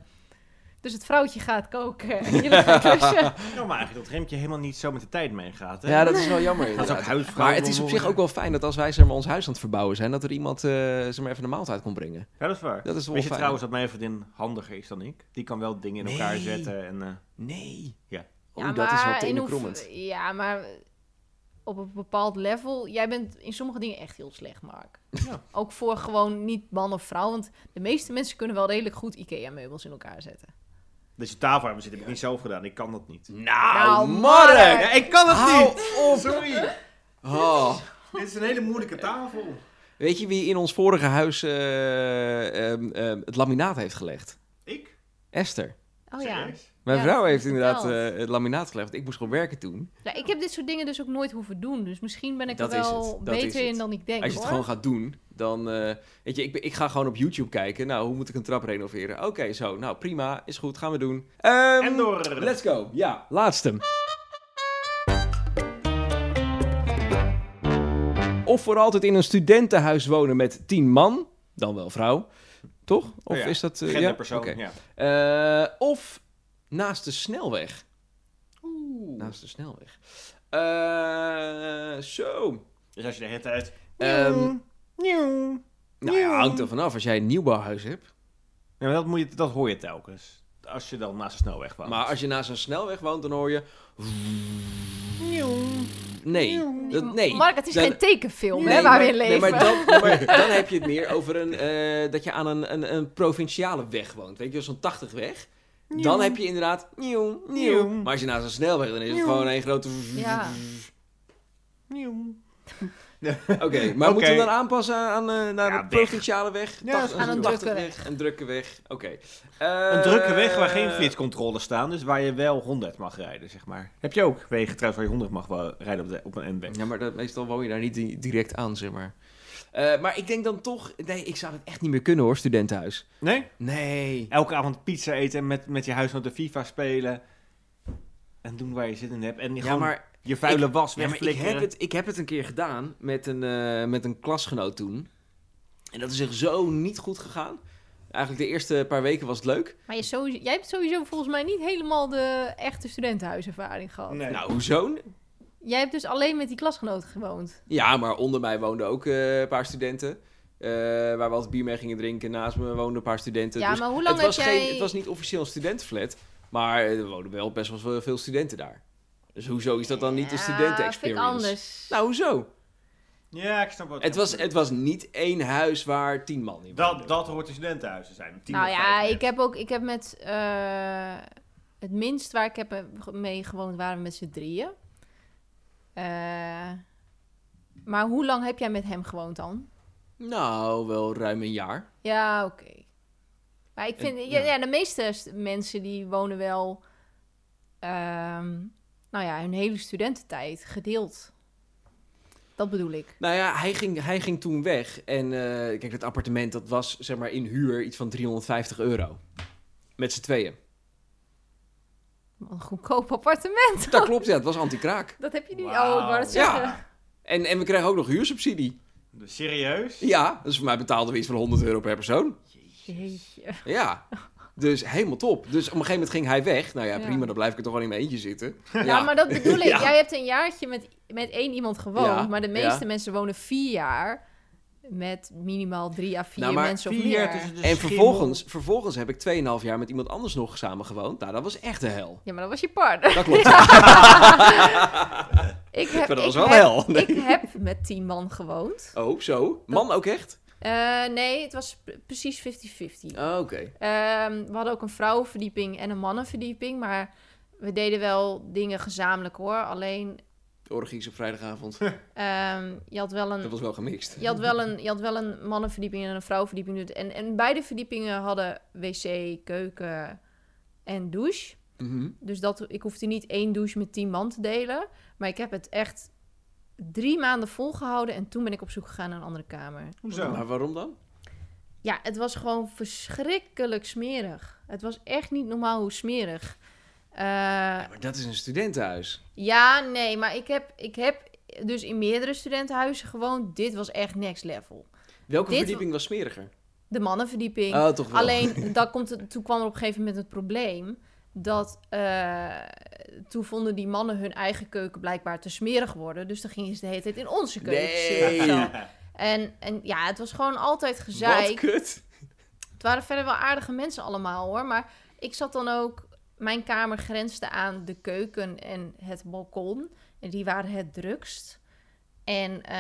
Dus het vrouwtje gaat koken en jullie gaan klussen. Ja, maar eigenlijk dat Remtje helemaal niet zo met de tijd meegaat. hè? Ja, dat is wel jammer Dat is ook inderdaad. huisvrouw. Maar het is op zich ook wel fijn dat als wij zeg maar, ons huis aan het verbouwen zijn, dat er iemand eh, zeg maar, even een maaltijd kon brengen. Ja, dat is waar. Dat is wel Weet je fijn. trouwens dat mijn vriendin handiger is dan ik? Die kan wel dingen in elkaar Nee. zetten en... eh, Nee. Ja. Oh, dat is maar wat te in inenkrommend. hoev- Ja, maar op een bepaald level... Jij bent in sommige dingen echt heel slecht, Mark. Ja. Ook voor gewoon niet man of vrouw. Want de meeste mensen kunnen wel redelijk goed IKEA-meubels in elkaar zetten. Deze tafel waar we zitten heb ik niet zelf gedaan. Ik kan dat niet. Nou, Mark! Mark! ik kan het Hou niet! Sorry. Oh. Dit is een hele moeilijke tafel. Weet je wie in ons vorige huis eh, ehm, ehm, het laminaat heeft gelegd? Ik? Esther. Oh ja. Serieus? Mijn Ja, vrouw dat heeft heb je inderdaad verteld. eh, het laminaat gelegd. Ik moest gewoon werken toen. Nou, ik heb dit soort dingen dus ook nooit hoeven doen. Dus misschien ben ik Dat er is het. wel Dat is beter het. in dan ik denk, Als je het hoor. gewoon gaat doen, dan... eh, weet je, ik, ben- ik ga gewoon op YouTube kijken. Nou, hoe moet ik een trap renoveren? Oké, zo. Nou, prima. Is goed. Gaan we doen. Ehm, En door. Let's go. Ja, laatste. Of voor altijd in een studentenhuis wonen met tien man. Dan wel vrouw. Toch? Of Oh Ja, is dat... eh, Genderpersoon, Oké. ja. Eh, of naast de snelweg. Naast de snelweg. Eh, zo. Dus als je de hele tijd... Ehm, Nieuw. Nou ja, hangt er vanaf. Als jij een nieuwbouwhuis hebt. Nee, maar dat, moet je, dat hoor je telkens. Als je dan naast de snelweg woont. Maar als je naast een snelweg woont, dan hoor je... Nee. Dat, nee. Mark, het is Dan- geen tekenfilm Nee, hè, waar we maar- in leven. Nee, maar dan, maar dan heb je het meer over een, eh, dat je aan een, een, een provinciale weg woont. Weet je, zo'n 80 weg. Dan heb je inderdaad nieuw, nieuw. Nieuw. Maar als je naast een snelweg, dan is het Nieuw. gewoon een grote... Ja. Nieuw. Oké, maar Oké. moeten we dan aanpassen aan, eh, naar de Ja, weg. provinciale weg? Ja, 80, aan een 80 drukke Een drukke weg, oké. Een Eh, drukke weg waar geen flitscontroles staan, dus waar je wel 100 mag rijden, zeg maar. Heb je ook wegen trouwens waar je 100 mag wel rijden op, de, op een N-weg? Ja, maar dat, meestal woon je daar niet di- direct aan, zeg maar. Eh, maar ik denk dan toch... Nee, ik zou het echt niet meer kunnen hoor, studentenhuis. Nee? Nee. Elke avond pizza eten en met, met je huisgenoten FIFA spelen. En doen waar je zin in hebt. En Ja, gewoon maar je vuile was Ja, maar ik wegflikkeren. heb, het, ik heb het een keer gedaan met een, eh, met een klasgenoot toen. En dat is echt zo niet goed gegaan. Eigenlijk de eerste paar weken was het leuk. Maar je sowieso, jij hebt sowieso volgens mij niet helemaal de echte studentenhuiservaring gehad. Nee. Nou, hoezo? Jij hebt dus alleen met die klasgenoten gewoond. Ja, maar onder mij woonden ook eh, een paar studenten. eh, waar we altijd bier mee gingen drinken. Naast me woonden een paar studenten. ja, Dus maar hoe lang het, was heb jij... geen, het was niet officieel een studentenflat. Maar er woonden wel best wel veel- veel studenten daar. Dus hoezo is dat dan niet een studenten-experience? Ja, vind ik anders. Nou, hoezo? Ja, ik snap wat je Het was, bedoelt. het was niet één huis waar tien man in woonden. dat, dat hoort de studentenhuis te zijn. Tien nou of ja, vijftien. ik heb ook... Ik heb met... eh, het minst waar ik heb mee gewoond waren we met z'n drieën. Eh, maar hoe lang heb jij met hem gewoond dan? Nou, wel ruim een jaar. Ja, oké. Maar ik vind, En- ja, ja. ja, de meeste st- mensen die wonen wel, ehm, nou ja, hun hele studententijd gedeeld. Dat bedoel ik. Nou ja, hij ging, hij ging toen weg. En eh, kijk, dat appartement dat was zeg maar in huur iets van 350 euro. Met z'n tweeën. Wat een goedkoop appartement. Dat klopt, ja. Het was anti-kraak. Dat heb je nu. Wauw. Oh, ik wou dat Ja. zeggen. En, en we kregen ook nog huursubsidie. Dus serieus? Ja, dus voor mij betaalden we iets van 100 euro per persoon. Jeetje. Ja. Dus helemaal top. Dus op een gegeven moment ging hij weg. Nou ja, Ja. prima, dan blijf ik er toch wel in mijn eentje zitten. Ja. maar dat bedoel ik. Ja. Jij hebt een jaartje met, met één iemand gewoond. Ja, Maar de meeste ja. mensen wonen vier jaar met minimaal drie à vier Nou, maar mensen of Vier meer. jaar tussen de En schimmel- vervolgens, vervolgens heb ik 2,5 jaar met iemand anders nog samen gewoond. Nou, dat was echt de hel. Ja, maar dat was je partner. Dat klopt. Ik heb, Maar dat was ik wel heb- hel. Nee. Ik heb met tien man gewoond. Oh, zo. Man ook echt? Eh, nee, het was pre- precies 50-50. Oh, Oké. Ehm, we hadden ook een vrouwenverdieping en een mannenverdieping. Maar we deden wel dingen gezamenlijk hoor. Alleen, Orgies op vrijdagavond. ehm, je had wel een... Dat was wel gemixt. Je had, wel een, je had wel een mannenverdieping en een vrouwenverdieping. En, en beide verdiepingen hadden wc, keuken en douche. Mhm. Dus dat, ik hoefde niet één douche met tien man te delen. Maar ik heb het echt drie maanden volgehouden. En toen ben ik op zoek gegaan naar een andere kamer. Hoezo? Maar waarom dan? Ja, het was gewoon verschrikkelijk smerig. Het was echt niet normaal hoe smerig. Eh, Maar dat is een studentenhuis. ja, nee, maar ik heb, ik heb dus in meerdere studentenhuizen gewoond. Dit was echt next level. Welke Dit- verdieping was smeriger? De mannenverdieping. Oh, toch wel. Alleen, dan komt het, toen kwam er op een gegeven moment het probleem dat eh, toen vonden die mannen hun eigen keuken blijkbaar te smerig worden. Dus dan gingen ze de hele tijd in onze keuken Nee. zitten. Zo. En, en ja, het was gewoon altijd Wat gezeik. kut. Het waren verder wel aardige mensen allemaal hoor. Maar ik zat dan ook, mijn kamer grensde aan de keuken en het balkon. En die waren het drukst. En eh,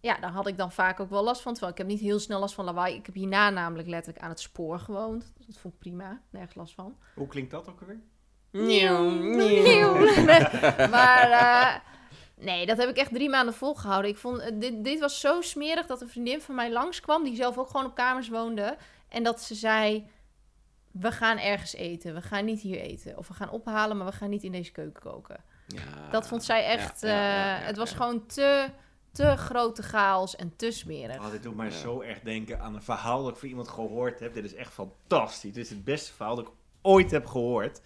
ja, daar had ik dan vaak ook wel last van. Terwijl ik heb niet heel snel last van lawaai. Ik heb hierna namelijk letterlijk aan het spoor gewoond. Dus dat vond ik prima, nergens last van. Hoe klinkt dat ook alweer? Nieuw, nieuw. Nee, maar eh, nee, dat heb ik echt drie maanden volgehouden. Ik vond, eh, dit, dit was zo smerig dat een vriendin van mij langskwam, die zelf ook gewoon op kamers woonde. En dat ze zei, we gaan ergens eten, we gaan niet hier eten. Of we gaan ophalen, maar we gaan niet in deze keuken koken. Ah, Ja. dat vond zij echt, ja, ja, ja, eh, het ja. was gewoon te, te grote chaos en te smerig. Oh, dit doet mij Ja. zo erg denken aan een verhaal dat ik van iemand gehoord heb. Dit is echt fantastisch. Dit is het beste verhaal dat ik ooit heb gehoord.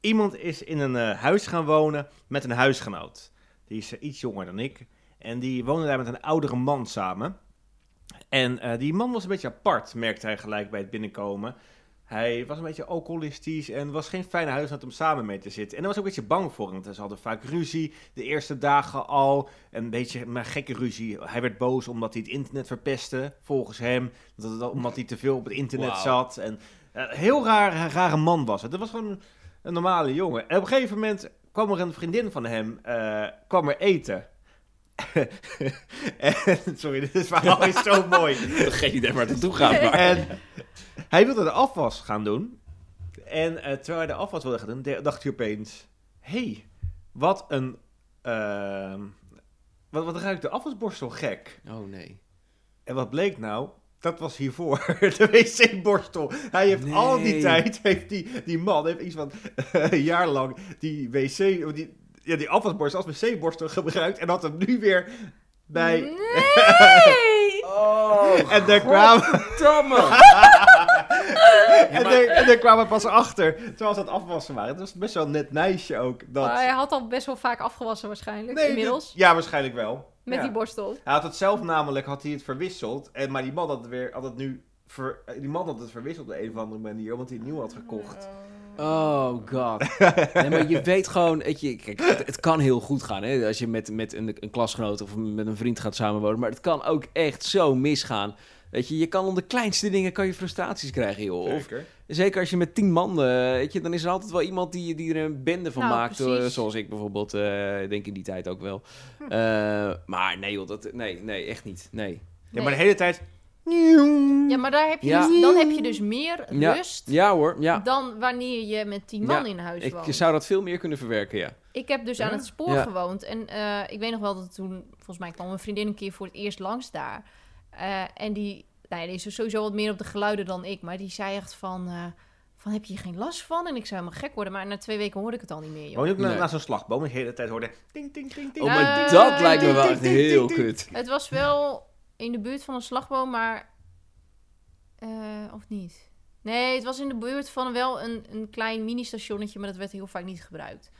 Iemand is in een eh, huis gaan wonen met een huisgenoot. Die is eh, iets jonger dan ik. En die woonde daar met een oudere man samen. En eh, die man was een beetje apart, merkte hij gelijk bij het binnenkomen. Hij was een beetje alcoholistisch en was geen fijne huisgenoot om samen mee te zitten. En hij was ook een beetje bang voor hem. want Ze hadden vaak ruzie, de eerste dagen al. Een beetje maar gekke ruzie. Hij werd boos omdat hij het internet verpestte, volgens hem. Dat het- omdat hij te veel op het internet Wauw. zat. En eh, heel raar, rare man was het. Dat was gewoon een normale jongen. En op een gegeven moment kwam er een vriendin van hem eh, kwam er eten. en, sorry, dit verhaal is zo mooi. Geen idee waar het naartoe gaat, maar... En hij wilde de afwas gaan doen. En eh, terwijl hij de afwas wilde gaan doen, de- dacht hij opeens... Hé, hey, wat een... ehm, wat, wat ruikt de afwasborstel gek? Oh, nee. En wat bleek nou? Dat was hiervoor, de wc-borstel. Hij heeft al die Nee. tijd, heeft die, die man heeft iets van eh, een jaar lang die wc... of Die, ja, die afwasborstel als wc-borstel gebruikt en had hem nu weer bij... Mm. Nee! Oh, En daar kwamen... godverdamme. En, daar, en daar kwamen we pas achter, terwijl ze aan het afwassen waren. Het was best wel een net meisje ook. Dat... Maar hij had al best wel vaak afgewassen waarschijnlijk, dit- Oh inmiddels. Ja, waarschijnlijk wel. Met Ja. die borstel. Hij had het zelf namelijk, had hij het verwisseld. En, maar die man had het weer, had het nu... Ver, eh, die man had het verwisseld op de een of andere manier, omdat hij het nieuw had gekocht. Oh, god. Nee, maar je weet gewoon... Dat je, kijk, het, het kan heel goed gaan, hè. Als je met, met een, een klasgenoot of met een vriend gaat samenwonen. Maar het kan ook echt zo misgaan. Weet je, je kan om de kleinste dingen kan je frustraties krijgen, joh. Of Zeker. Zeker als je met tien man, eh, weet je, dan is er altijd wel iemand die, die er een bende van Nou, maakt. precies. Hm. eh, zoals ik bijvoorbeeld, eh, ik denk in die tijd ook wel. Eh, maar nee joh, dat, nee, nee, echt niet. Nee. Ja, Nee. maar de hele tijd... Ja, maar daar heb je Ja. dus, dan heb je dus meer Ja. rust Ja hoor, ja. dan wanneer je met tien man Ja, in huis Ik woont. zou dat veel meer kunnen verwerken, ja. Ik heb dus aan het spoor Ja. gewoond. En eh, ik weet nog wel dat toen, volgens mij kwam mijn vriendin een keer voor het eerst langs daar. dus Eh, en die, nou ja, die is sowieso wat meer op de geluiden dan ik. Maar die zei echt van, eh, van heb je hier geen last van? En ik zou helemaal gek worden, maar na twee weken hoorde ik het al niet meer, joh. Gewoon ook na- Nee. naast een slagboom. En de hele tijd hoorde... Ting, ting, ting, ting. Oh, maar Eh, dat lijkt me ding, wel ding, echt ding, ding, heel ding. kut. Het was wel in de buurt van een slagboom, maar... eh, of niet? Nee, het was in de buurt van wel een, een klein mini-stationnetje, maar dat werd heel vaak niet gebruikt.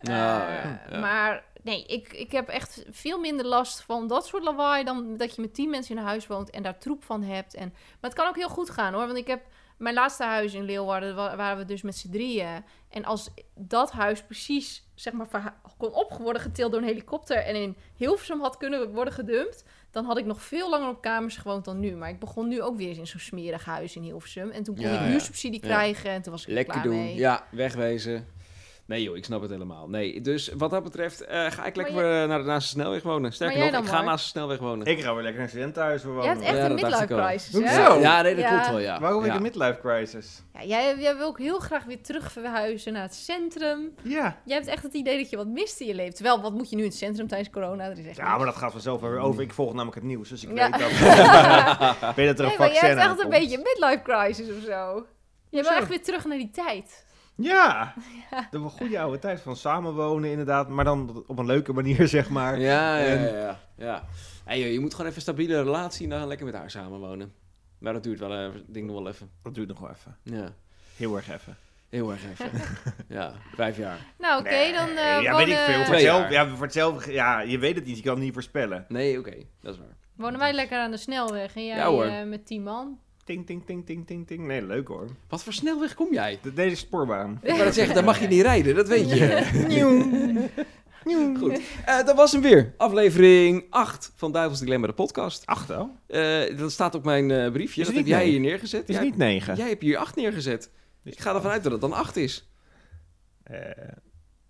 Nou, Eh, ja, ja. Maar nee, ik, ik heb echt veel minder last van dat soort lawaai dan dat je met tien mensen in een huis woont en daar troep van hebt. En, maar het kan ook heel goed gaan hoor, want ik heb mijn laatste huis in Leeuwarden, wa- waren we dus met z'n drieën. En als dat huis precies, zeg maar, verha- kon op worden getild door een helikopter en in Hilversum had kunnen worden gedumpt, dan had ik nog veel langer op kamers gewoond dan nu. Maar ik begon nu ook weer eens in zo'n smerig huis in Hilversum. En toen kon Ja, ik ja. huursubsidie Ja. krijgen en toen was ik er Lekker klaar doen. mee. Ja, wegwezen. Nee joh, ik snap het helemaal. Nee, dus wat dat betreft eh, ga ik lekker Maar eh, naar de naast de snelweg wonen. Sterker jij nog, dan, ik ga Mark? naast de snelweg wonen. Ik ga weer lekker naar een studentenhuis Je hebt wonen. echt Ja, een dat dacht ik midlife al. crisis, Hoezo? hè? Zo. Ja, nee, dat Ja. klopt wel, ja. Waarom weer ja. de midlife crisis? Ja, jij, jij wil ook heel graag weer terug verhuizen naar het centrum. Ja. Jij hebt echt het idee dat je wat mist in je leven. Terwijl, wat moet je nu in het centrum tijdens corona? Er is echt Ja, maar niks. dat gaat vanzelf wel weer over. Ik volg namelijk het nieuws, dus ik Ja. weet ook. Ik weet dat er een Nee, maar jij vaccin hebt echt een aankomt. beetje een midlife crisis of zo. Je wil Hoezo? echt weer terug naar die tijd. Ja. De goede oude tijd van samenwonen inderdaad, maar dan op een leuke manier zeg maar. Ja, ja, En- ja. ja, ja. Hey, joh, je moet gewoon even een stabiele relatie en dan lekker met haar samenwonen. Maar dat duurt wel, eh, ding nog wel even. Dat duurt nog wel even. Ja, Heel erg even. heel erg even. ja, vijf jaar. Nou, oké, dan... eh, Nee, ja, wonen, weet ik veel. Voor Twee hetzelfde, jaar. ja, voor hetzelfde, ja, je weet het niet. Je kan het niet voorspellen. Nee, oké, dat is waar. wonen wij lekker aan de snelweg en jij Ja, hoor. eh, met 10 man. Ting, ting, ting, ting, ting, ting. Nee, leuk hoor. Wat voor snelweg kom jij? De, deze spoorbaan. Ik wou net zeggen, daar mag je niet rijden, dat weet je. Goed, Eh, dat was hem weer. Aflevering 8 van Duivels Dilemma, de podcast. Acht oh. al? Eh, dat staat op mijn eh, briefje, Is dat het heb niet jij negen? hier neergezet. Het is Jij- niet negen. Jij hebt hier 8 neergezet. Ik ga ervan uit dat het dan 8 is. Eh,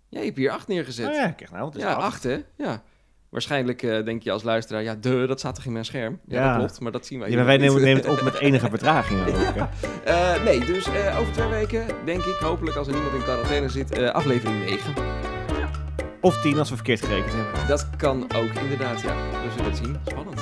Jij hebt hier 8 neergezet. oh ja, kijk nou, het is Ja, acht. acht hè? Ja. Waarschijnlijk eh, denk je als luisteraar, ja, de, dat staat toch in mijn scherm? Ja, dat Ja. klopt, maar dat zien wij Ja, hier maar wij niet. Dus, nemen, nemen het op met enige vertraging. ook, hè. Eh, nee, dus eh, over twee weken, denk ik, hopelijk als er niemand in quarantaine zit, eh, aflevering 9. Of tien als we verkeerd gerekend hebben. Dat kan ook, inderdaad, ja. We zullen het zien. Spannend.